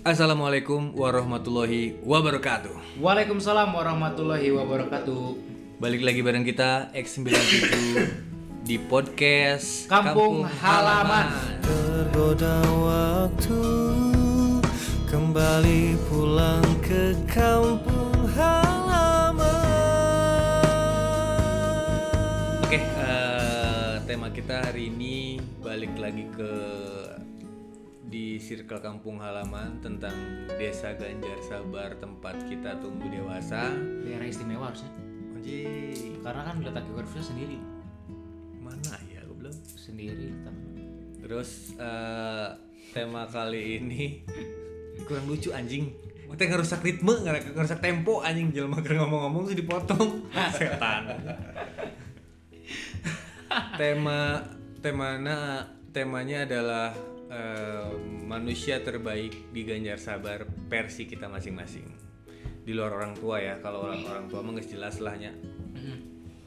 Assalamualaikum warahmatullahi wabarakatuh. Waalaikumsalam warahmatullahi wabarakatuh. Balik lagi bareng kita X97 di podcast Kampung Halaman. Tergoda waktu kembali pulang ke kampung halaman. Oke, eh, tema kita hari ini balik lagi ke di circle kampung halaman tentang desa Ganjar Sabar tempat kita tumbuh dewasa. Daerah istimewa harusnya. Anjing, Karena kan letak geografisnya sendiri. mana ya belum? Sendiri letak. Terus eh, tema kali ini kurang lucu anjing. Kita ngerusak ritme, ngerusak, ngerusak tempo anjing jelma keur ngomong-ngomong sih dipotong. Setan. tema temana temanya adalah eh, manusia terbaik di Ganjar Sabar versi kita masing-masing. Di luar orang tua ya, kalau orang orang tua mah geus jelas lahnya Mm-hmm.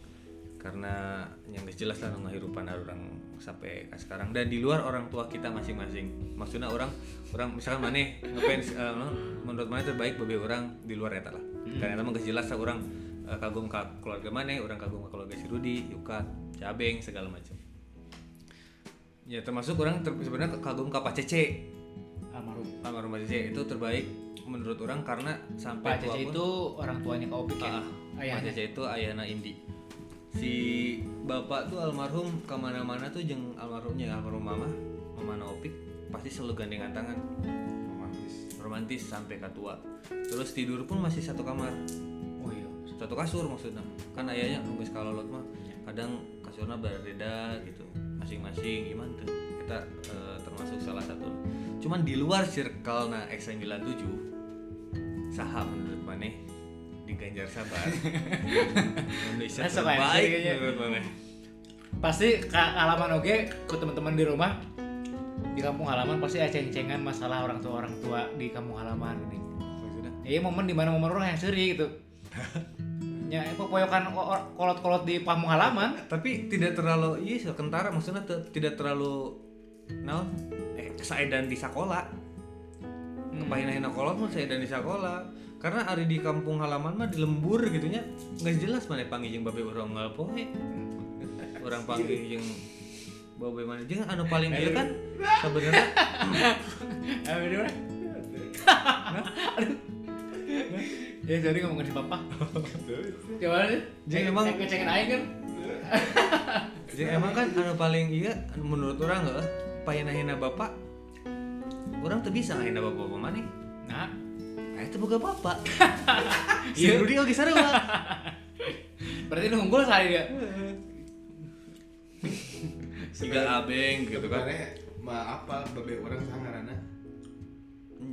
karena yang geus jelas lah ngehirupan orang sampai ka sekarang dan di luar orang tua kita masing-masing maksudnya orang orang misalkan mana ngefans eh, no, menurut mana terbaik bagi orang di luar eta lah Hmm. karena emang geus jelas lah orang eh, kagum ka keluarga mana orang kagum ka keluarga si Rudi Yuka Cabeng segala macam ya termasuk orang ter- sebenarnya kagum ka Pak Cece Almarhum. almarhum Pak Cece itu terbaik menurut orang karena sampai Pak tua Cece pun- itu orang tuanya Kak Opik ya. Ah, Pak Ayahnya. Cece itu ayahna Indi. Si bapak tuh almarhum kemana-mana tuh jeng almarhumnya almarhum mama, mama Naopik pasti selalu gandengan tangan. Romantis. Romantis sampai ke tua. Terus tidur pun masih satu kamar, Oh iya. satu kasur maksudnya. Kan ayahnya nggak kalau lot mah kadang kasurnya berbeda gitu, masing-masing gimana tuh. Kita eh, termasuk salah satu. Cuman di luar circle nah X97 saha menurut maneh di Ganjar Sabar Indonesia Nah, sobat, terbaik kayaknya. menurut maneh Pasti Kak halaman oge ke teman-teman di rumah di kampung halaman pasti ada ceng-cengan masalah orang tua orang tua di kampung halaman ini. Maksudnya, Ya iya, momen dimana momen orang yang seri gitu. ya poyokan kolot-kolot di kampung halaman. tapi tidak terlalu iya sih, kentara maksudnya te- tidak terlalu no eh saya dan di sekolah kepahin hina kolot mah saya dan di sekolah karena hari di kampung halaman mah di lembur gitunya nggak jelas mana panggil jeung babe orang ngalpoe orang panggil jeung babe mana jeung anu paling ieu kan sebenarnya Apa di mana? Aduh. Ya sorry ngomongin si papa. Coba deh. Jadi emang- ngecengin aing kan. Jadi emang kan anu paling iya anu menurut orang nggak payanahina bapak orang tuh bisa ngahina bapak bapak mana? Nah, Nah itu Iya. boga bapak. Si Rudi oke sarua. berarti lu unggul ya? sehari dia. Tiga abeng gitu kan. sebenarnya ma apa babe orang sangarana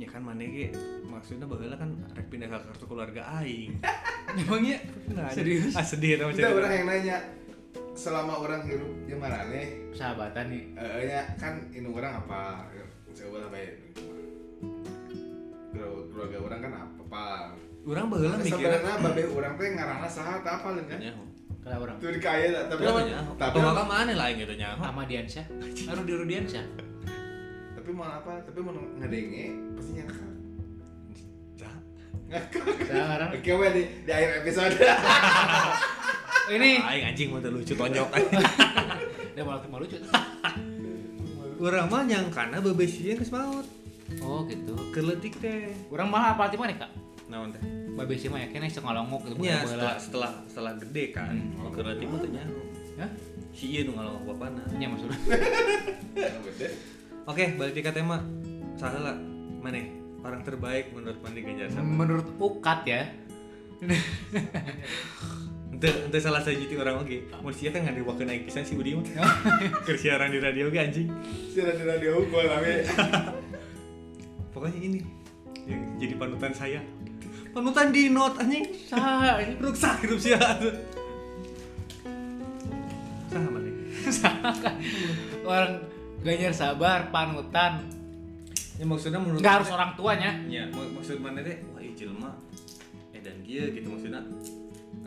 Ya kan mana ge maksudnya bageula kan rek pindah ke kartu keluarga aing. Emangnya Nah, serius Ah sedih sama kita orang cerita. yang nanya selama orang hidup di mana nih sahabatan nih. eh nya kan ini orang apa coba lah baik Keluarga- keluarga orang kan apa apa Orang bageula mikirnya. Ya. sebenarnya babe orang teh ngarana saha tak apa kan Nyaho. Kalau orang tuh kaya tak tapi Nyaho, mah- nyaho. tapi Pemaka mah- mana lain gitu nyaho. sama Diansyah. Aduh di Rudiansyah. tapi mau apa tapi mau ngedenge pasti nyangka Dah. Sekarang oke weh di, di akhir episode ini Aing anjing mah teu lucu tonjok. dia malah malu lucu. Urang mah nyangkana bebesinya geus maot. Oh gitu. Keletik teh. Orang malah apa mana Kak? Naon teh? Babe ya, sih mah yakin sing ngalongok gitu Ya, bola-bola. setelah setelah setelah gede kan, kalau ke berarti mah tanya Hah? si Ieu nu ngalongok bapana. Ya maksudnya. Oke, balik ke tema. Salah mana? Orang terbaik menurut Mandi Ganjar Sabar. Menurut Ukat ya. Ente ente salah saji ti orang oge. Mun sia kan ngadewakeun aing pisan si Budi mah. Keur siaran di radio ge anjing. si radio radio unggul tapi Pokoknya ini yang jadi panutan saya. Panutan di note anjing. Sah. Ruksak hidup sia. Saha mana? Orang Ganjar sabar, panutan. Ya maksudnya menurut Enggak harus orang tuanya. ya mak- maksud mana teh wah ieu jelema edan kieu gitu maksudnya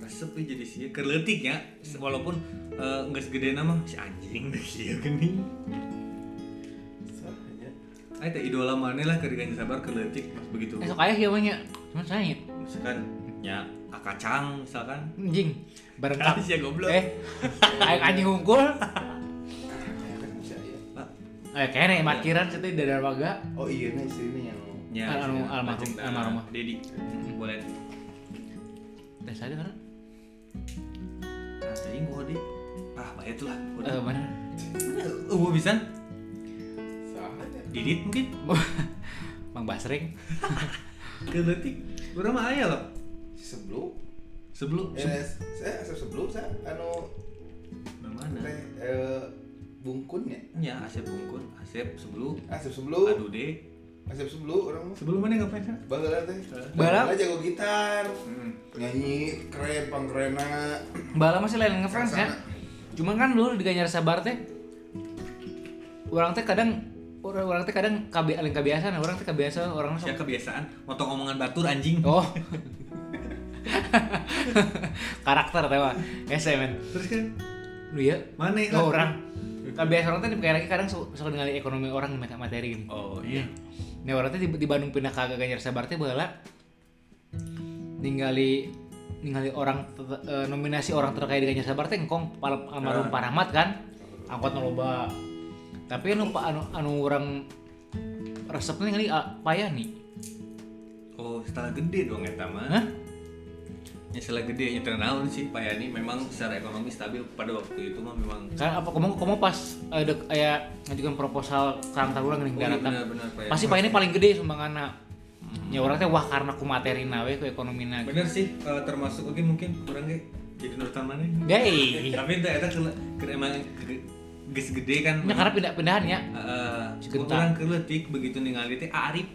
resep we jadi sih kerletik ya Se- walaupun eh, Iya, geus segede nama si anjing deh kieu geuning Ayo teh idola mana lah keur diganti sabar ke leutik pas begitu. Eh, sok ayah ya banyak. Cuman sangit. Misalkan ya akacang misalkan. Anjing. Bareng kap. Kali sih ya goblok. Eh. Aing anjing hungkul. kan bisa ya. Pak, Eh, kayaknya markiran sih dari warga. Oh iya, nah istrinya yang nya Al- sih, almarhum- macam, eh, almarhumah. Dedi. Boleh. Teh saja kan? Nah, teuing ngode. Ah, bae tuh lah. ngode. Eh, mana? Eueuh bisa sahanya. Didit mungkin Mang Basring. ke leutik. Urang mah aya loh. Sebelum Sebelum eh, saya sebelum saya anu Nah, mana? teh eh, bungkunnya. Ya, Asep Bungkun, Asep sebelum Asep sebelum, Aduh deh. asep sebelum orang mah Sebelum Oh. mana ngapain sih? Bagala teh. Bala? Bagala jago gitar, nyanyi keren pangkerena. Bala masih lain ngefans ya. Cuman kan dulu di Ganyar Sabar teh orang teh kadang orang orang teh kadang kabe aling kebiasaan, orang teh kebiasaan orang sok. Ya kebiasaan motong omongan batur anjing. Oh. Karakter teh mah. Ya saya men. Terus kan Lu ya. mana yang- Oh, orang. Kebiasaan orang teh kayak lagi kadang sok sok ningali ekonomi orang di mata- materi gini. Oh iya. Nah orang teh di, di Bandung pindah ke Ganjar Sabar teh baheula ningali ningali orang te- eh, nominasi orang terkaya di Ganjar Sabar teh engkong pal- almarhum Ah. Pak Rahmat kan angkot nu loba. Tapi anu pa- anu anu urang resepnya ningali ah, payah nih. Oh, setelah gede dong eta mah. Hah? Ya setelah gede ya terkenal sih Pak Yani memang secara ekonomi stabil pada waktu itu mah memang Kan apa kamu kamu pas eh, ada kayak ngajukan proposal karang Oh, taruna geuning iya, daratan. benar-benar Pak Yani. Pasti Pak ini paling gede sumbanganna. Ya orang teh wah karena ku materina we ku ekonomina. Bener sih eh, termasuk oke mungkin kurang ge jadi nurutan mana. Dei. Tapi itu eta kele- keur emang gede- geus gede kan. Eh, Ya karena pindah-pindahan ya. Heeh. Segentak. Orang keletik begitu ningali teh Arif.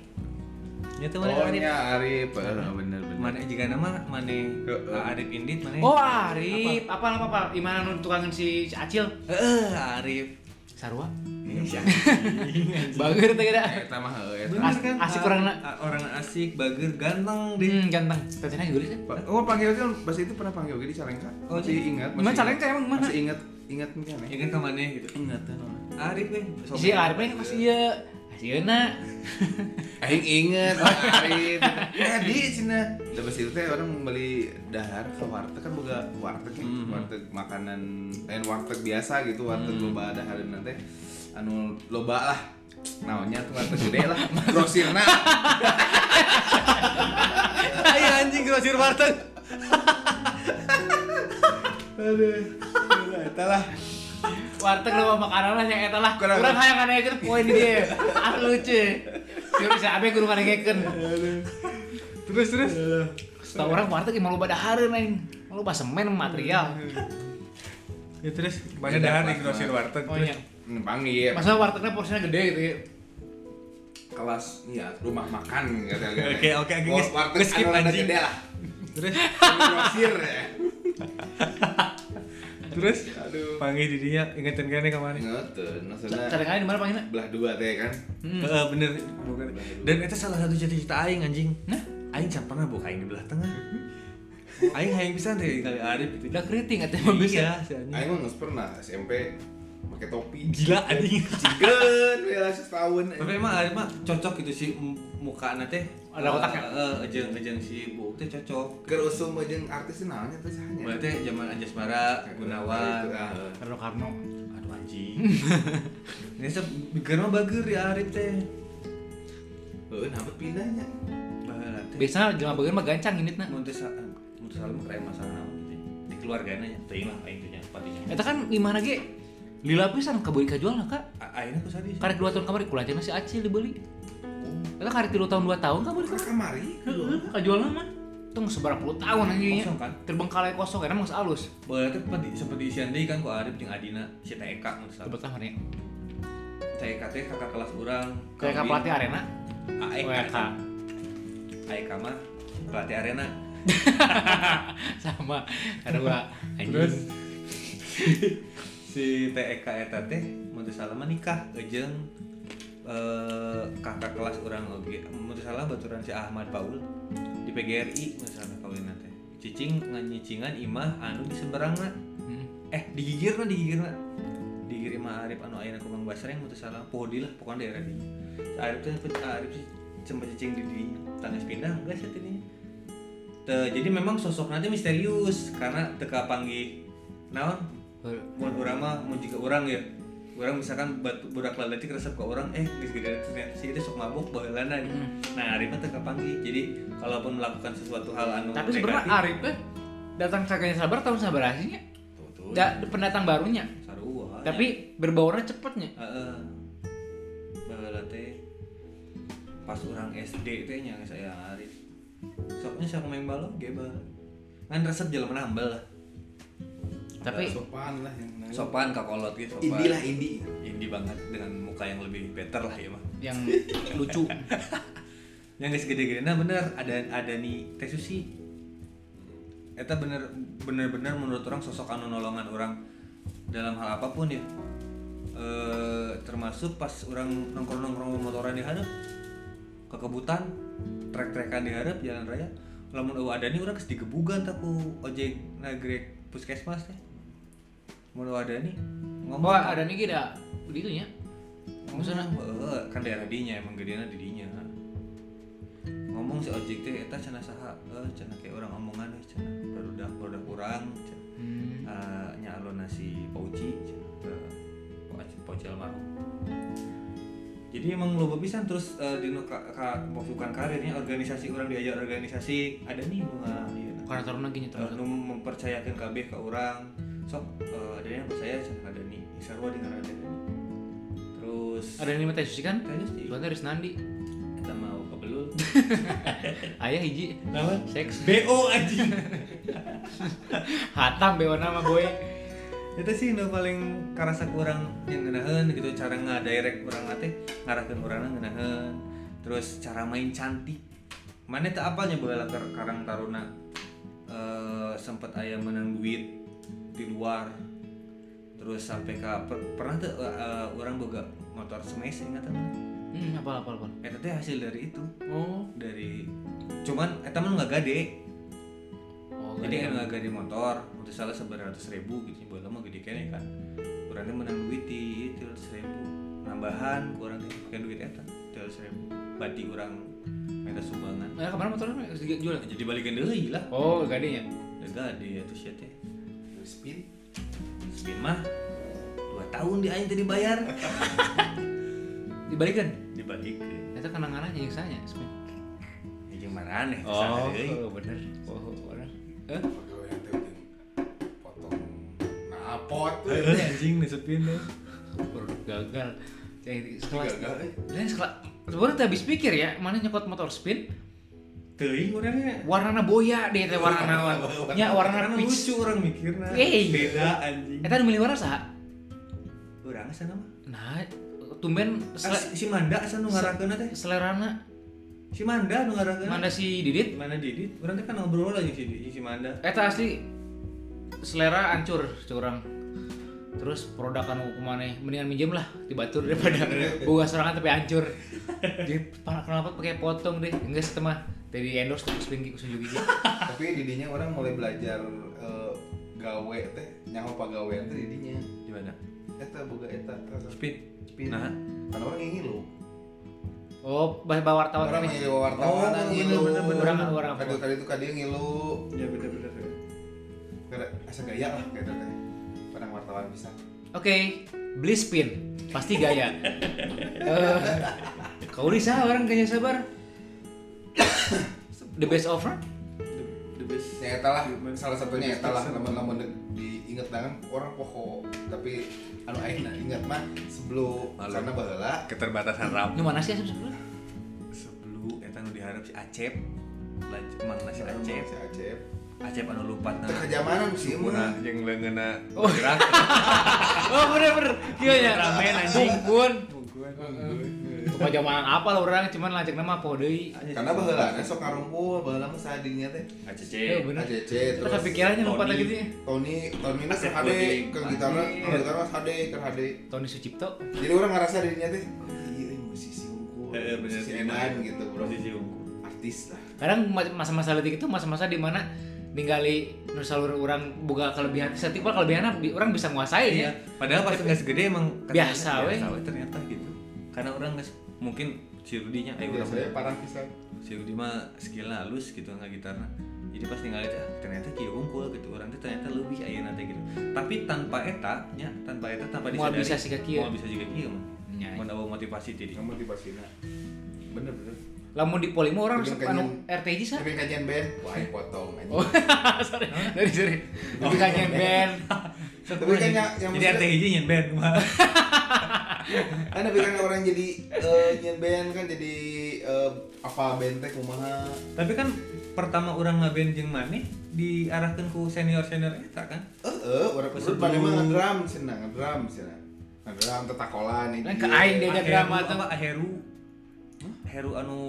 Ya teh mana iya. Oh Arif? nya Arif, eh, bener bener. Mana jika nama mana Ah, Heeh. Arif Indit mana? Oh Arif, apa apa apa, gimana nu tukangin si, si Acil? Heeh, Eh, Arif. Sarua. Iya. Bener Bager teh kada. Eh, Eta mah heuh eta. As- asik orang na- Ah, orang asik, bager, ganteng deh. Hmm, ganteng. Tetehna geulis kan? Pa- Oh panggil kan pas itu pernah panggil di Salengka. Oh, masih iya. ingat. Gimana masih Salengka ingat. emang mana? Masih ingat ingat mungkin Ya ya. kan kamarnya gitu. Ingat eh, Arif eh. nih. Si Arif ini masih ya Hasilna. Aing inget oh, Arif. Tadi cina. Tapi itu teh orang beli dahar ke warteg kan boga warteg ya. Mhm. Warteg makanan lain warteg biasa gitu, warteg Mm-hmm. loba dahar nanti anu loba lah. Naonnya tuh warteg gede lah. Grosirna. Ayo anjing grosir warteg. Aduh, Eta lah. Warteg loba makanan yang eta lah. Kurang- Kurang hayang nganaekeun poin di dieu. Ah lucu. Keur bisa abe kan kudu nganaekeun. Terus terus. Setah orang warteg emang loba dahareun aing. Loba semen material. Ya terus. Banyak dahar di grosir warteg. Oh iya. Hmm, Panggil Masalah wartegnya porsinya gede gitu ya. kelas ya rumah makan kata Oke, oke, oke, guys. Warteg Guys, skip anu rada anjing. gede lah. Terus Grosir ya. terus. Aduh. Panggil di dia ingetin kan ya, kene kemarin. Ngeten, maksudnya Cadangan di mana panggilna? belah dua teh kan. Hmm. Heeh, Eh, bener. Bukan. Dan itu salah satu cita-cita aing anjing. Nah, aing can pernah buka aing di belah tengah. Aing hayang pisan teh kali Arif gitu. Udah keriting atau emang bisa? Iya, si anjing. Aing mah nggak pernah SMP pakai topi. Gila anjing. Cigen, bela setahun. Tapi emang Arif mah cocok gitu sih m- muka anak teh. Ada kotaknya? Heeh, jeung eh, jeung si Bu teh cocok. Kerusum aja yang artis tuh namanya tuh sahanya. Berarti zaman Anjasmara, Gunawan. Itu, ah, eh. Karno Karno. Aduh anjing. Ini sep bigger mah bager ya Arif teh. Heeh, kenapa pindahnya? Baheula teh. Biasanya jelema bagian mah gancang ini nah. Mun teh sa- mun teh salam keren masalah naon gitu. Di keluargana nya teuing lah aing teh nya patinya. Eta kan gimana ge? Lila pisan kabeli kajual lah kak. A- Ayeuna ku sadi. Karek dua tahun kamari kulanjana si Acil dibeli. Eta karek tilu tahun dua tahun kabeli Ke kak. kamari. Heeh, Kajual lah mah. Tung seberapa puluh tahun anjingnya. Oh, Kosong, kan? Terbengkalai kosong, karena mah alus. Berarti sempat sempat diisian deui kan ku Arif jeung Adina si teh Eka mun teu salah. Tebet lah mana? Teh Eka teh kakak kelas urang. Kayak Kawin. E pelatih arena. AEK. WK. AEK mah pelatih arena. Sama. Karena gua Terus? anjing. si E TEK eta teh mun teu salah mah nikah jeung eh, kakak kelas urang oge mun teu salah baturan si Ahmad Paul di PGRI mun teu salah kawinna teh cicing nganyicingan imah anu di seberangna Hmm. eh digigirna digigirna digigir mah Arif anu ayeuna kurang basreng mun teu salah poho di lah pokona daerah di. Arif teh Arif sih cempa cicing di di tangis pindah geus ya tadinya. Teu- jadi memang sosok nanti misterius karena teka panggih naon mun urang mah mun jika urang ya urang misalkan batu budak lalatik resep ke orang eh di segede ternyata si itu sok mabuk baheulana gitu. Hmm. nah Arif mah teu kapanggih jadi kalaupun melakukan sesuatu hal anu Tapi sebenarnya Arif teh datang kagaknya sabar tahun sabar aslinya. tuh Da, pendatang barunya. sarua Tapi berbaurnya cepetnya. heeh baheula teh pas orang SD teh nya saya Arif soknya sok main balon ge bae kan resep jelema nambal lah Tapi sopan lah yang benar. sopan kakolot gitu sopan Indi lah Indi. Indie banget dengan muka yang lebih better lah ya mah yang lucu. yang gak segede-gede nah bener ada ada nih teh susi eta bener bener bener menurut orang sosok anu nolongan orang dalam hal apapun ya e, termasuk pas orang nongkrong nongkrong motoran di hadap kekebutan trek trekan di hadap jalan raya lamun eueuh ada nih orang kes digebugan taku ojek nagrek puskesmas teh mun eueuh ada nih ngomong Bahwa ada nih kita begitu ya. maksudnya heeh, kan daerah dinya emang gedenya di dinya ngomong si ojek teh eta cenah saha eh cenah kayak orang omongan eh cenah produk produk kurang cenah Hmm. Eh, nya alona si Pauci cenah Eh, Pauci Pauci almarhum jadi emang loba pisan terus eh, dinu ka, ka pemasukan karirnya organisasi orang diajar organisasi ada nih nu nga- ieu na. Karena taruna gini Eh, terus. nu mempercayakan kabeh ke orang sok eh, ada yang percaya cenah ada nih sarua dengan ada terus Ada nih teh Susi kan? Kayaknya sih. Soalnya dari Senandi. kita mau kebelul Ayah hiji. Nama? Seks. BO anjing Hatam bewa nama boy. itu sih nu paling karasa kurang yang ngeunaheun gitu cara ngadirect urang mah teh ngarahkeun urangna ngeunaheun terus cara main cantik mana teu apalnya baheula keur karang taruna eh sempet aya menang duit di luar terus sampai ke per- pernah tuh orang boga motor semes ingat Hmm, apa apa apa. eta teh hasil dari itu Oh. dari cuman eta mah nggak gade Oh, jadi kan gede. nggak gede motor untuk salah seberat ratus ribu gitu buat lama gede kene kan kurangnya menang duit di itu ratus ribu nambahan kurang teh pakai duit eta ratus ribu bati kurang minta sumbangan Eh, kemarin motornya jual. jadi balikin deui lah Oh, gadenya. udah gede atau shit ya Spin. spin mah dua tahun dia aja tadi bayar Dibalikin. dibalikin Itu kenangannya yang saya. Spin. ini mana aneh kesana deui. Oh, bener. Oh, bener. Eh? Pegawai yang teu jeung potong napot Heuh, anjing nih spin teh produk gagal jadi setelah gagal, eh. lain setelah sebenarnya teh habis pikir ya mana nyokot motor spin teuing urangnya warnana boya deh teh warnana nya warna Karena peach lucu orang mikirnya Eh. beda anjing eta nu milih warna saha urang sana mah nah tumben Ah, sele, si si Manda asa nu ngarakeunna teh selerana si Manda nu ngarakeunna mana si Didit mana Didit urang teh kan ngobrol aja si Didit si Manda eta asli selera ancur curang terus produk anu kumane mendingan minjem lah dibatur daripada boga sorangan tapi hancur jadi pa- kenapa pakai potong deh enggak setengah dari endorse terus spin gigi kusunjuk gigi Tapi didinya orang mulai belajar eh, gawe teh nyaho pagawean teh didinya. di mana Eta boga eta. eta. Speed Spin. Nah. Karena orang ingin lu. Oh, bah bah wartawan Orang ini. ingin wartawan Oh, ngilu. bener-bener. Orang- orang apa? Kadu kali itu kadieu ngilu. ya bener bener Kira asa gaya lah kayak teh. Padang wartawan bisa. Oke, beli spin, pasti gaya. Eh, kau bisa orang kayaknya sabar. The best offer? the, the best Ya eta lah salah satunya eta lah lamun-lamun de- diinget dengan orang poho tapi anu ayeuna inget mah sebelum Malu. karena baheula keterbatasan ram Ini mana sih asam sebelum? sebelum eta nu diharap si Acep lanjut mangna si Acep si Acep Acep anu lupa Teu kejamanan sih mah yang leungeuna Oh. gerak Oh bener bener, iya ya. Ramen, anjing. Bungkun. Tukang jamanan apa lah orang, cuman lanjut nama podei. karena baheula na sok ngarumpul baheula mah sadinya teh Iya Acep bener. ACC Terus terus kepikirannya lupa Tony. tadi gitu ya. Tony Tony na Asep keur HD Kuning. ke gitar ke gitar mah HD ke HD Tony Sucipto. jadi orang ngerasa dirinya teh oh, iya ini musisi unggul Eh, bener musisi sih, enan bener. gitu bro posisi unggul artis lah Kadang ma- masa-masa detik itu masa-masa di mana ninggali nu salur orang buka kelebihan setiap mah kelebihannya bi- orang bisa nguasain ya. Iya. Padahal pas nggak segede emang katanya Biasa, weh. Biasa, weh, ternyata gitu. Karena orang nggak se- mungkin si Rudinya kayak orang Biasanya Iya, parah pisan. si Rudi mah skill halus gitu nggak gitarna. Jadi pas ningali teh, ah, ternyata kieu unggul gitu orang teh ternyata lebih ayeuna teh gitu. Tapi tanpa eta nya, tanpa eta tanpa Moal disadari. bisa siga kieu. Moal bisa siga kieu mah. Nya. Mun awa motivasi jadi. Yang motivasinya. Bener-bener. Lamun di polimo orang sep- Bikin anu kajian. RTJ sah. Tapi kajian band, wah aing potong anjing. Oh, sorry. Dari sorry. Oh. Tapi kajian band. Tapi kan yang yang Jadi arti hiji nyen band mah. kan tapi kan orang jadi eh, nyen band kan jadi eh, apa band teh kumaha. Tapi kan pertama orang ngeband jeung maneh diarahkan ku senior-senior eta kan. Heeh, urang urut Sebelum- pada mah ngedrum cenah, ngedrum cenah. Ngedrum tetakolan Kan ini. Lain ke aing deh. Beda Aheru, drama tuh. apa Heru Heru anu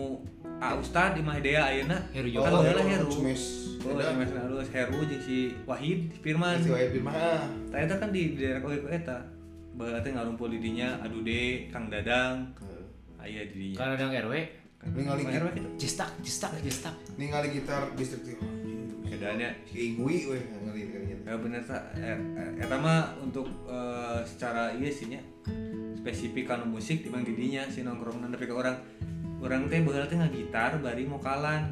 A Ustad di Mahdea ayeuna. Heru Oh, Joko. Kan heula Heru. Heru Cumes. Oh, Beda. Mas Alus Heru jeung si Wahid Firman. Si Wahid Bin Mah. Tah eta kan di daerah oge ku eta. Baheula teh ngarumpul di dinya Adu De, Kang Dadang, Ah, iya, aya di dinya. Karena ada RW. ningali Kang gitu. RW gitu. Cistak, cistak, cistak. Ningali gitar listrik. Keadaannya Si Igui weh gitu. ningali kayaknya. Ya bener tak. Eta mah untuk eh, secara iya sih nya spesifik anu musik dibanding didinya si nongkrong tapi ke orang orang teh baheula teh ngagitar bari mokalan.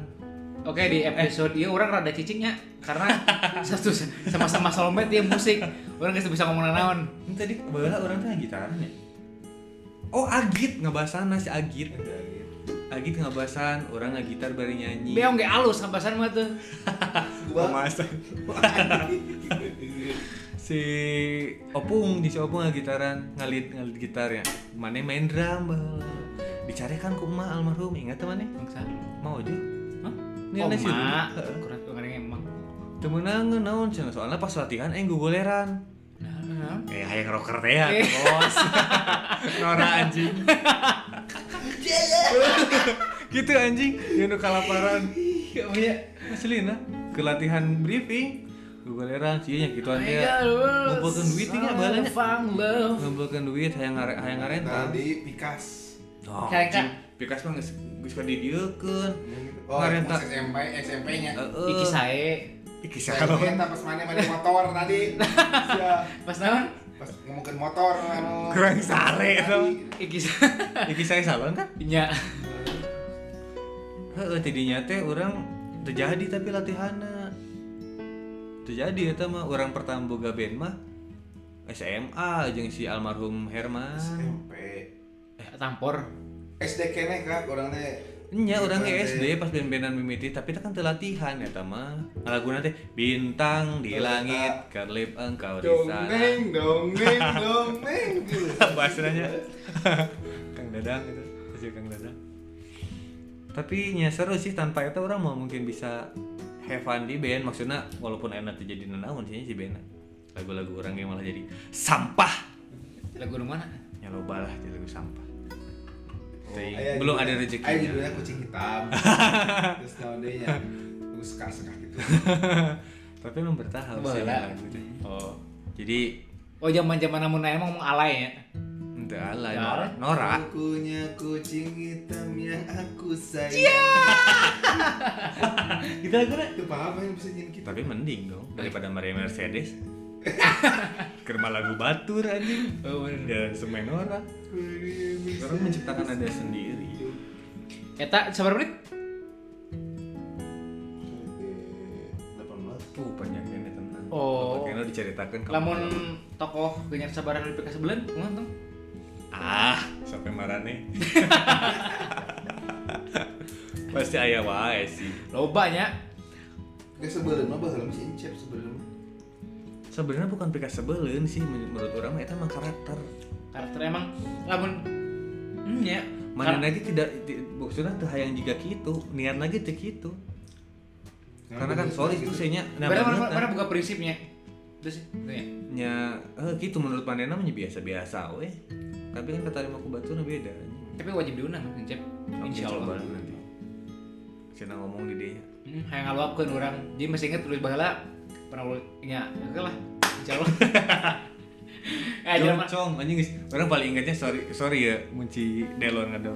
Oke di episode ieu orang rada cicingnya karena satu sama-sama solmed dia musik. Orang geus bisa ngomong naon. Ini tadi baheula orang teh ngagitaran ya. Oh Agit ngebasana si Agit. Agit ngebasan, orang ngagitar bari nyanyi. Beong ge alus sambasan mah tuh. Pemasa. si Opung di si Opung ngagitaran, ngalit ngalit gitar ya. Mane main drum baheula. Dicarekan ku emak almarhum, ingat teu maneh? Mangsa. Mau aja. Hah? Ini Oh, ada si mak. Rudy. Heeh. Kurang kurang emang. Temenang naon cenah soalnya pas latihan aing gogoleran. Nah, nah. Eh hayang rocker teh ya, Eh. bos. Nora anjing. gitu anjing, ya nu kalaparan. Iya, Ya oh, punya asli nah. Ke latihan briefing, gogoleran sih yang Oh gituan teh. Iya. Ngumpulkeun duit tinggal balanya. Ngumpulkeun duit hayang ngare hayang ngarentan. Tadi Nah, Pikas. Oh, Kareka. anjing. Pikas mah geus geus kadidieukkeun. Oh, Ngarenta. SMP, SMP-nya. Heeh. Iki sae. Iki Saya salon. pengen pas mana pada motor tadi. Sia. Pas naon? Pas ngomongin motor anu. Kurang sare Tadi. dong. Iki sae. Iki saya salon kan? Nya. Heeh, tidinya teh orang terjadi tapi latihana. Terjadi eta mah orang pertama boga band mah SMA jeung si almarhum Herman. SMP. Tampor. SD kene kak Gitu, orang teh. Nya orang ke SD. SD pas band-bandan mimiti tapi tak kan teu latihan eta mah. Laguna teh bintang di langit kerlip engkau di sana. Dongeng, dongeng, dongeng. gitu. bahasanya Kang Dadang gitu masih Kang Dadang tapi nya seru sih tanpa itu orang mau mungkin bisa have fun di band maksudnya walaupun enak tuh jadi nanaun sih si band lagu-lagu orang yang malah jadi sampah Lagu nu mana? ya loba lah jadi lagu sampah Oh, Ting. aya belum judulnya- ada Aya rezekinya judulnya kucing hitam. Terus naon deui nya? Aku sekar-sekar gitu. tapi emang bertahap sih Bola. lagu teh. oh jadi Oh, zaman-zaman namun aya mah ngomong alay ya. ente alay Nora. Nora Nora Punya kucing hitam yang aku sayang. Gitu lagu na. Itu paham yang bisa nyanyi kita. tapi mending dong daripada Maria Mercedes kerma lagu batur anjing Oh, dan bener. semenora orang menciptakan nada sendiri Eta sabar menit? 18. tuh penyakitnya tenang Oh. Pokoknya diceritakan ke Lamun tokoh genyar sabaran di PK sebelan, kumaha tong? ah sampai marane pasti ayah wae sih Loba nya. Gak sebelum mah baheula mah si Encep sebelum. sebenarnya bukan pika sebelin sih menurut orang mah itu emang karakter Karakter emang lamun hmm, nya. mana Kar- lagi tidak ti- maksudnya tuh hayang jika gitu niat lagi tuh gitu Nah, karena kan sorry itu gitu. sehnya nah, banget, Barang barang- nah. barang buka prinsipnya. Terus itu ya. nya eh, gitu menurut panena mah biasa-biasa we tapi kan ketarima ku baturna beda Tapi wajib diundang Encep. coba Insyaallah. nanti cina ngomong di dia Hmm, hayang ngaluapkeun urang. Jadi masih inget tulis baheula pernah ulah nya. Oke lah. Insyaallah. Eh, Cong, jangan cong, anjing guys. Orang paling ingatnya sorry sorry ya munci Delon ada.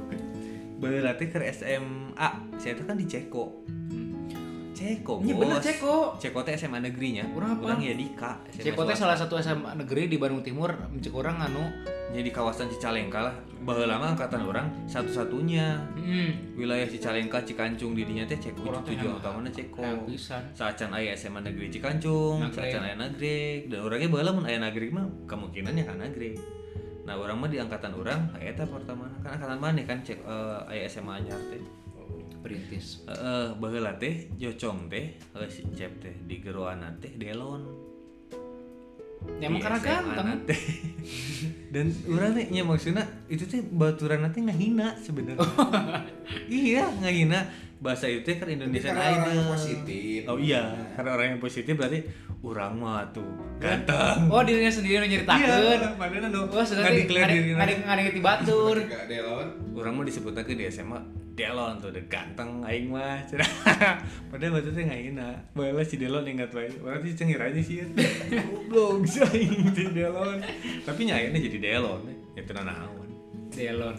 Berarti ke SMA. Saya itu kan di Ceko. Ceko, Hmm, Iya, bener, Bos. Ceko. Ceko teh SMA negerinya. Urang apa? Urang ya Dika. SMA Ceko teh swasta. salah satu SMA negeri di Bandung Timur, mencek orang anu. Jadi di kawasan Cicalengka lah. Bahwa lama angkatan orang satu-satunya Hmm. wilayah Cicalengka Cikancung di dinya teh Ceko Orang teh tujuan hebat. utamana Ceko. Hayang pisan. Saacan aya SMA negeri Cikancung, Nagreg. saacan aya nagreg dan orangnya baheula mun aya nagreg mah kemungkinannya kan nagreg. Nah, orang mah di angkatan orang eta pertama kan angkatan mana kan cek eh, aya SMA anyar teh. Perintis. Heeh, baheula teh jocong teh eh, si cep teh di geroana teh delon. Ya emang Di karena SMA ganteng. na teh. Dan urang teh nya maksudna itu teh baturan teh ngahina sebenarnya. iya, ngahina bahasa itu teh kan Indonesian karena orang Idol. yang positif. Oh iya, karena orang yang positif berarti urang mah tuh ganteng. Oh dirinya sendiri nu nyeritakeun. Oh, Iya, padahal nu Wah, sudah nggak declare diri ada ada ngerti batur. Gak delon. Urang mah disebutna ke di SMA Delon tuh udah ganteng aing mah. Cenah. Padahal waktu teh ngahina. Baheula si Delon ingat bae. Urang teh cengir aja sih. Goblok si aing si Delon. Tapi nyayana jadi Delon. Ya teu naon. Delon.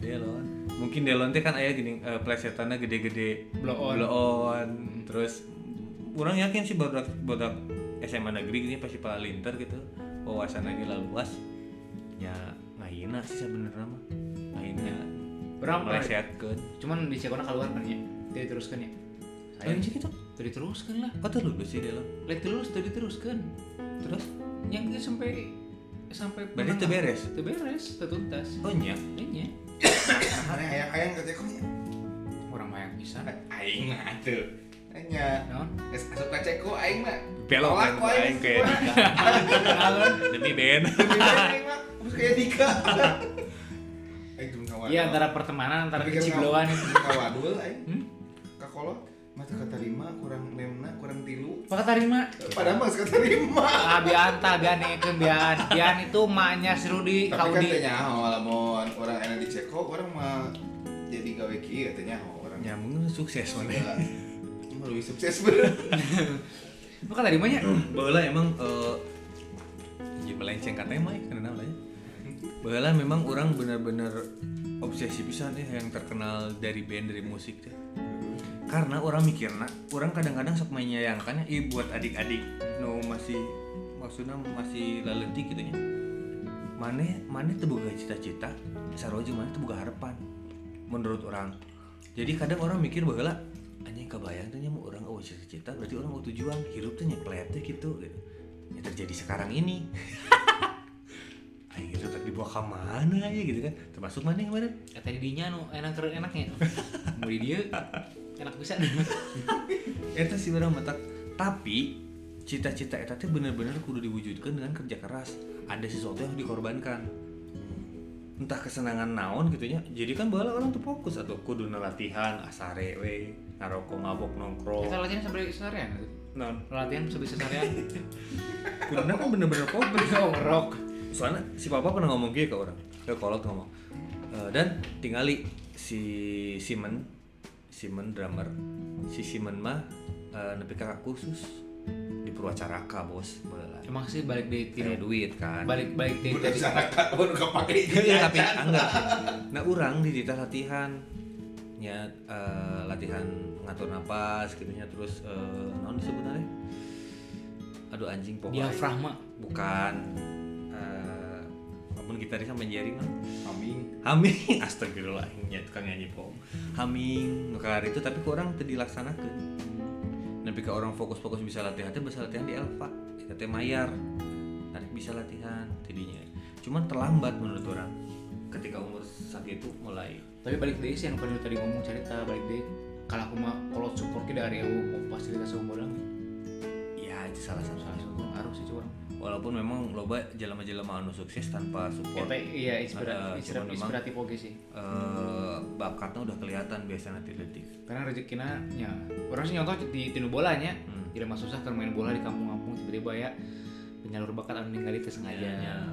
Delon. Mungkin Delon teh kan aya gini eh, plesetanna gede-gede. Blow on. Blow on. Terus urang yakin sih bodak bodak SMA negeri gini pasti palinter gitu. Wawasannya gila luas. Ya ngahina sih sebenarnya mah. Ngahina. Urang pernah- melesetkeun. Cuman di Ceko keluar kan ya. Tidak diteruskan ya. Lain sih gitu. Tidak diteruskan lah. Kok tuh lulus sih Delon? Lihat terus, tidak diteruskan. Terus? Yang itu sampai sampai Berarti menengah. teu beres? Teu beres, teu tuntas. Oh nya. Ini Mana hayang-hayang ke Ceko nya? kurang banyak bisa. ya, Aing mah tuh. Nya. Naon? Geus asup ka Ceko aing mah. Belok Tolak ku aing kan, kayak semua. Dika. Demi Ben. Demi aing, aing mah. Terus kayak Dika. Aing jeung kawan. Iya antara pertemanan antara Tapi kan kecibloan. ka- jeung kawadul aing. Hmm? Ka kolot mah teu katarima kurang nemna kurang tilu. Maka tarima. Padahal mah geus katarima. Ah bian ta bian ekeun bian. Bian itu maknya si Rudi Tapi kan teh Kaudi. nyaho lamun orang enak di Ceko orang mah jadi gawe kieu teh nyaho orang. Ya mungkin sukses mana. Gila. Emang lebih sukses bener. Maka tarimanya Bahwa emang eh jadi melenceng katanya mah karena lah ya. Bahwa memang orang benar-benar obsesi pisan ya yang terkenal dari band dari musik ya. teh. Karena orang mikirna, orang kadang-kadang sok menyayangkannya eh, buat adik-adik no masih maksudnya masih laletik gitu nya. Mane mane teu boga cita-cita, sarua jeung mane teu boga harapan menurut orang. Jadi kadang orang mikir bahwa anjing kebayang teh nya mun orang eueuh cita-cita berarti orang eueuh tujuan, hirup teh nyeplet teh gitu gitu. Yang terjadi sekarang ini. Ayo gitu tak dibawa ke mana ya gitu kan Termasuk mana yang kemarin kata didinya nu enak keren enaknya. Muri dia enak bisa. Eta sih orang matak Tapi cita-cita Eta teh bener-bener kudu diwujudkan dengan kerja keras Ada sesuatu yang dikorbankan Entah kesenangan naon gitu ya Jadi kan bala orang tuh fokus Atau kudu latihan Asare we Naroko mabok nongkrong Kita latihan sampai seharian. Nah, Latihan sampai seharian. kuduna kan bener-bener fokus Jorok. soalnya si papa pernah ngomong gitu ke orang ke kolot ngomong E, dan tingali si Simon Simon drummer si Simon mah e, nepi ka khusus di Purwacaraka bos boleh Emang sih balik di tidak tiru. duit kan Balik-balik di Udah bisa nakal, baru kepake Iya, tapi enggak. Nah, orang di dita latihan nya eh, latihan ngatur napas gitu nya terus eh naon sebenarnya? Aduh anjing pokoknya. Diafragma. Bukan eh apapun gitaris sama jaring mah. Kambing. Haming astagfirullah nya ya, tukang nyanyi pom. Haming nukar itu tapi kurang teu dilaksanakeun. Tapi ke orang fokus-fokus bisa latihan teh bisa latihan di Elva. Kita teh mayar. Tarik bisa latihan tadinya. Cuman terlambat menurut orang. Ketika umur saat itu mulai Tapi balik deh sih yang pada tadi ngomong cerita balik deh. Kalau aku mah kalau support kita dari aku fasilitas umum bolang. ya itu salah satu. Salah satu harus sih cuman. Walaupun memang loba jelema-jelema anu sukses tanpa support. Eta iya Ada, inspira- inspira- cuman memang- inspiratif oke sih. eh, bakatnya udah kelihatan biasanya atletik. Karena rezekina nya orang sih nyontoh di tinu bolanya. Hmm. Jadi mah susah kan main bola di kampung-kampung tiba-tiba ya penyalur bakat anu ninggali teh ya, sengaja.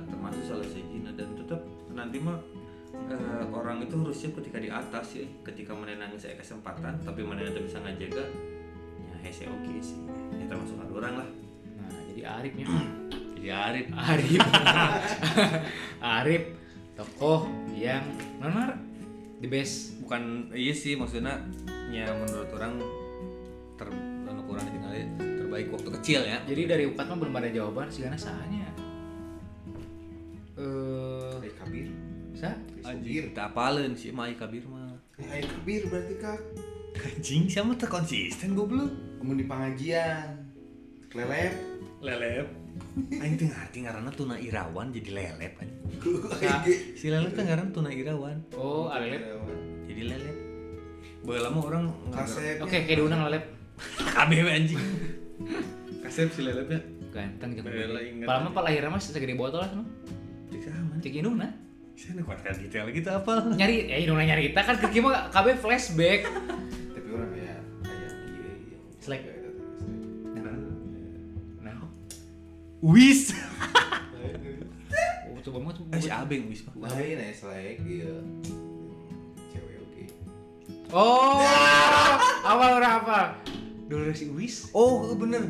termasuk salah sejina dan tetap nanti mah eh, orang itu harus siap ketika di atas ya ketika menenangi saya kesempatan tapi menenang itu bisa ngajaga ya hese oke sih ya termasuk ada orang lah Nah, jadi Arifnya jadi Arif Arif. Arif tokoh yang mana the best bukan iya sih maksudnya ya menurut orang ter anu kurang ditinggal terbaik waktu kecil ya Jadi dari Ukat mah belum ada jawaban sih karena sahanya. Eh, Eh, kabir. sah? anjing tak apalin sih mai kabir mah Air kebir berarti kak. anjing sama terkonsisten goblok Kamu di pengajian. Lelep. lelep anjing teu ngerti ngaranna tuna irawan jadi lelep anjing si lelep teh ngaran tuna irawan Oh, Alep. jadi lelep Bae lama orang Kasep. ngasep Oke, kayak diundang Alep. KBW anjing kasep si ya. lelepnya Ganteng jeung. Bela inget. Palama pal lahirnya mah segede botol lah. Cek aman Cek indung nah. Saya kuatkan detail gitu apa? Nyari, ya indung nyari kita kan kaki mah KB flashback. Tapi orang ya kayak iya iya. Slack. Nah, Wis. oh, coba banget. Eh, si Abeng wis mah. Lain ya slack iya. Cewek oke. Oh, apa orang apa? Dulu si Uwis. Oh, bener.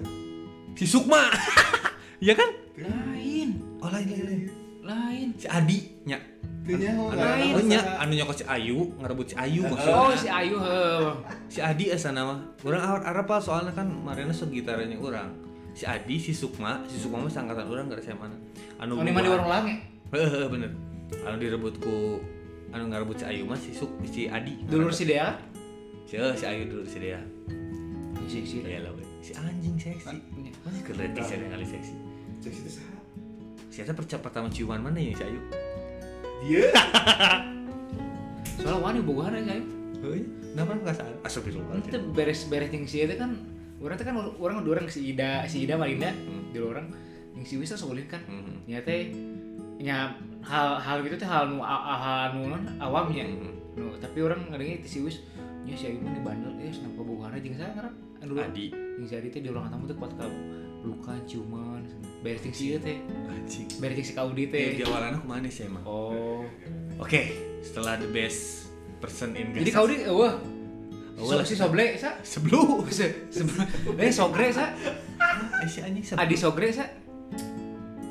Si Sukma. Iya kan? Lain, Oh, lain lain. lain. lain. Si Adi nya. Tanya Anu, lain. oh, nya anu nyokot si Ayu, ngerebut si Ayu Oh, maksudnya. si Ayu heuh. Si Adi asana mah. Urang awal arep apa soalnya kan marena sok gitarnya urang. Si Adi, si Sukma, si Sukma mah sangkatan urang gara SMA na. Anu Oh, ini mah di warung lange. Heeh, bener. Anu direbutku anu ngarebut si Ayu mah si Suk si Adi. Dulur si Dea. si eh, si Ayu dulur si dia. Si si. Kan? Ya lah, we. si anjing seksi. Mana keren sih ada kali seksi. Cek situ sah. Siapa percaya pertama ciuman mana ya si Ayu? Dia. Soalnya wani bogohan aja Ayu. Hei, kenapa nggak sadar? Astagfirullahaladzim. Itu beres-beres yang si itu kan orang itu kan orang dua orang si Ida, si Ida Malinda, Hmm. dulu orang yang si Wisa sulit kan. Mhm. Nya teh nya hal hal gitu teh hal nu a- a- hal nu non awamnya. Mhm. Nu, tapi orang ngadengnya ti si Wis nya si Ayu mah di bandel ya senang bogohan aja jeung saya ngarep. Anu dulu. Adi, Yang si Adi teh di ruang tamu teh kuat ka luka ciuman. Beres yang si ieu teh, anjing. beres yang si Kaudi Eh, teh. di awalan aku mana sih emang? Oke, Oh. setelah the best person in Jadi Gaza. Kaudi eueuh. Eueuh lah. Si Soble sa sebelum Se sebelum eh sogre sa eh, si anjing sebelum Adi Sogre sa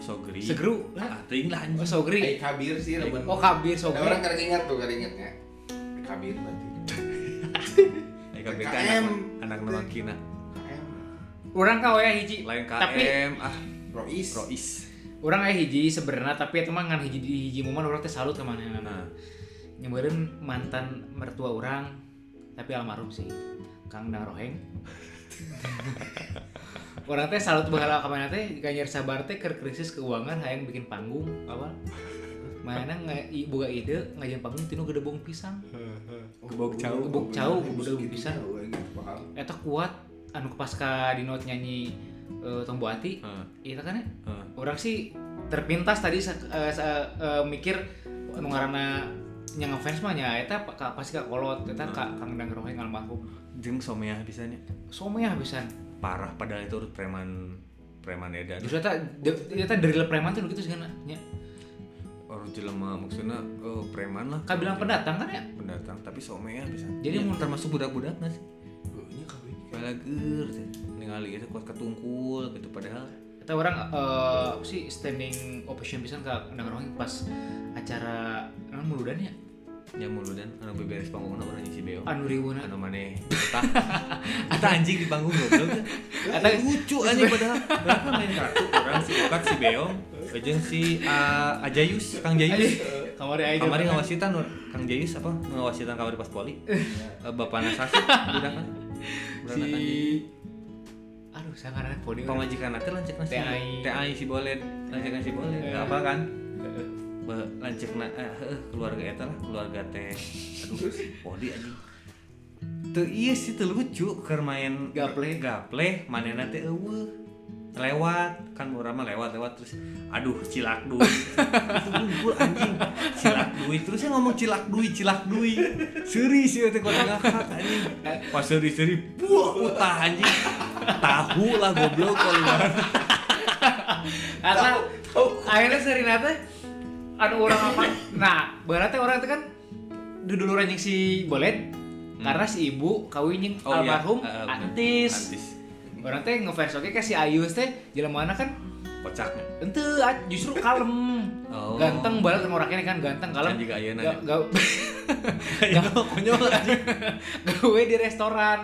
Sogri. Segru Ah, ting lah Oh anjing. Air Sogri kabir sih remen. Oh Kabir Nah, orang Sogri kadang ingat tuh kadang ingatnya. Kabir berarti. Eh, KBK KM. anak anak nama Kina. KM. Orang ka aya hiji Lain KM, Tapi ah, Rois. Rois. orang aya hiji sebenarnya tapi eta mah ngan hiji di hiji momen orang teh salut ka manehna. Nah, Nyebeureun mantan mertua orang tapi almarhum sih. Kang Daroheng. orang teh salut bahala ka manehna teh ganyar sabar teh keur krisis keuangan hayang bikin panggung awal. Mana nggak buka ide ngajian panggung tinu gedebong pisang. kebok jauh. Gebok cau, udah Gitu bisa. Oh, jauh, gitu, paham. Eta kuat anu pasca di note nyanyi eh, Tombo Ati. Heeh, Itu kan ya. heeh. Orang sih terpintas tadi sa- eh, sa- eh, mikir anu ngaranna yang ngefans mah nya eta pa- ka- pasti ka kolot eta ka Kang Dang Roheng almarhum. Jeung someah pisannya. Someah pisan. ya, Parah padahal itu preman preman ya, edan. Justru eta de- eta dari preman tuh gitu sih kan nya. orang jelema maksudnya eh, preman lah Ka bilang pendatang kan ya. pendatang tapi somea bisa Ya, Jadi mun- termasuk budak-budak nggak sih Ini kabir. balager ningali itu kuat ketungkul gitu padahal Eta orang eh, apa sih standing ovation pisan ka Kang Dang Roheng pas acara naon muludan ya. nya muludan anu beberes panggungna orang ngisi beo Anu riweunan. anu maneh tah tah anjing di panggung goblok Eta- eta lucu anjing padahal padahal kan Iya, main kartu orang si Ukat si Beong jeung si ah, Ajayus Kang Jayus Kamari aja. Iya. kamari ngawasitan ur- Kang Jayus apa ngawasitan kamari pas poli Eh, Bapak Nasasi budak kan si Beranakan jadi. aduh saya nggak ada podium pamajikan nanti lancek nasi TAI. TAI si bolet lancek nasi bolet Eh. nggak apa kan Be, lancek na eh, heuh, keluarga eta lah keluarga teh aduh podi anjing tuh iya sih tuh lucu keur main Gaple. gaple manehna teh eueuh lewat kan murah mah lewat lewat terus aduh cilak duit itu unggul anjing cilak duit terus yang ngomong cilak duit cilak duit seri sih teh kota ngakak anjing pas seri seri buah utah anjing tahu lah goblok kalau nggak. Atau akhirnya sering teh anu orang apa? Nah, berarti orang itu kan dulu orang yang si bolet karena si ibu kawin yang Hmm. Oh, iya. almarhum Eh, bener. antis. Antis. Orang teh ngefans oke kayak si Ayus teh jelema mana kan kocaknya ente ah, justru kalem Oh. ganteng barat sama orangnya kan ganteng kalem Janji ke ayeuna Ga- ya. ga- Gawe di restoran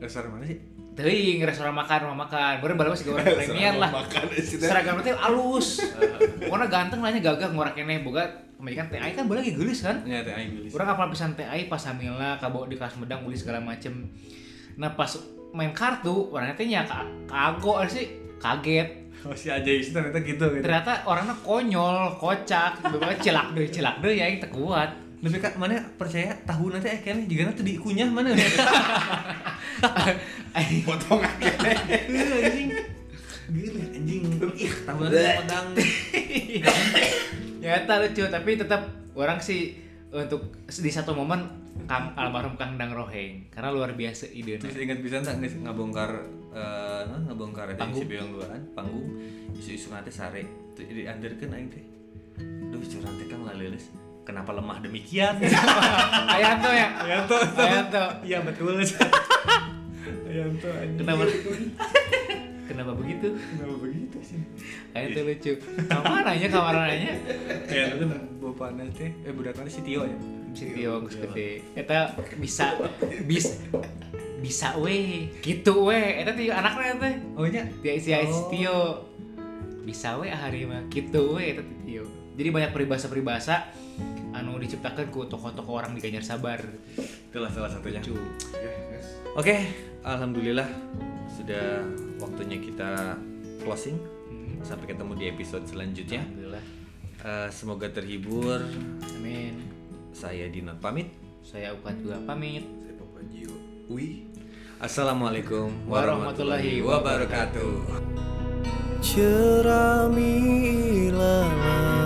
Restoran Eh, mana sih? Teuing restoran makan, rumah makan. Baru balas juga orang premier lah. makan sih Seragam teh alus. Warna ganteng lahnya gagah ngorek keneh boga kebanyakan TI kan boleh lagi geulis kan? Ini ada Aing Bilis. Orang kapal pisan TI pas hamilna kabawa di kelas medang beli segala macem. Nah pas main kartu orangnya teh nya ka- kago eh, sih kaget Oh, si Ajay itu ternyata gitu gitu. ternyata orangnya konyol kocak tiba-tiba celak deh celak deh ya yang terkuat Lebih kak mana percaya tahu nanti eh kayaknya juga nanti dikunyah mana? ya? Aing- potong aja Eh, anjing. Gila anjing. Ih, tahu nanti pedang. ya tak lucu tapi tetap orang sih untuk di satu momen Kang almarhum Kang Dang Roheng karena luar biasa ide Terus ingat bisa tak nggak ngabongkar eh nah, ngabongkar ada si Beong luaran panggung isu-isu nanti sare Tuh, dianderkeun aing teh. Duh, curang teh Kang laleuleus. Kenapa lemah demikian? Ayanto ya Ayanto. Ayanto Iya betul. Ayanto anjing. kenapa kenapa begitu Kenapa begitu sih? Ayanto lucu kamaranya kamaranya Kayak itu bapaknya teh eh budaknya si Tio ya. si Tio geus gede eta bisa bis bisa we gitu we eta Tio anaknya teh Oh nya dia isi Oh. Tio bisa we hari mah gitu we eta Tio jadi banyak peribahasa-peribahasa anu diciptakan ku tokoh-tokoh orang di Ganjar Sabar itulah salah satunya. lucu Iya, Oke, alhamdulillah sudah waktunya kita closing. Hmm. Sampai ketemu di episode selanjutnya. alhamdulillah Eh, semoga terhibur. amin Saya Dino pamit. saya Ukan juga pamit saya papa Gio Ui Assalamualaikum warahmatullahi Warahmatullahi wabarakatuh. Cerami ilalang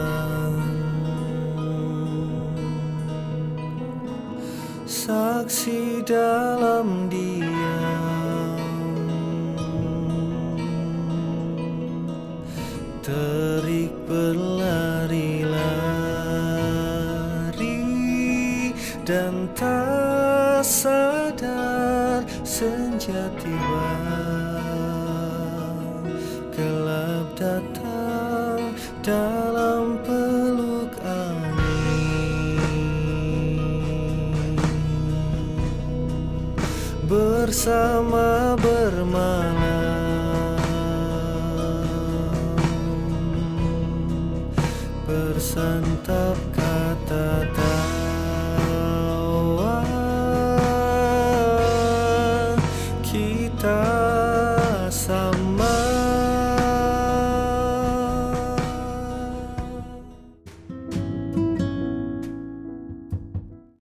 Saksi dalam diam Terik berlari-lari Dan tak sadar senja tiba Gelap datang dalam peluk angin Bersama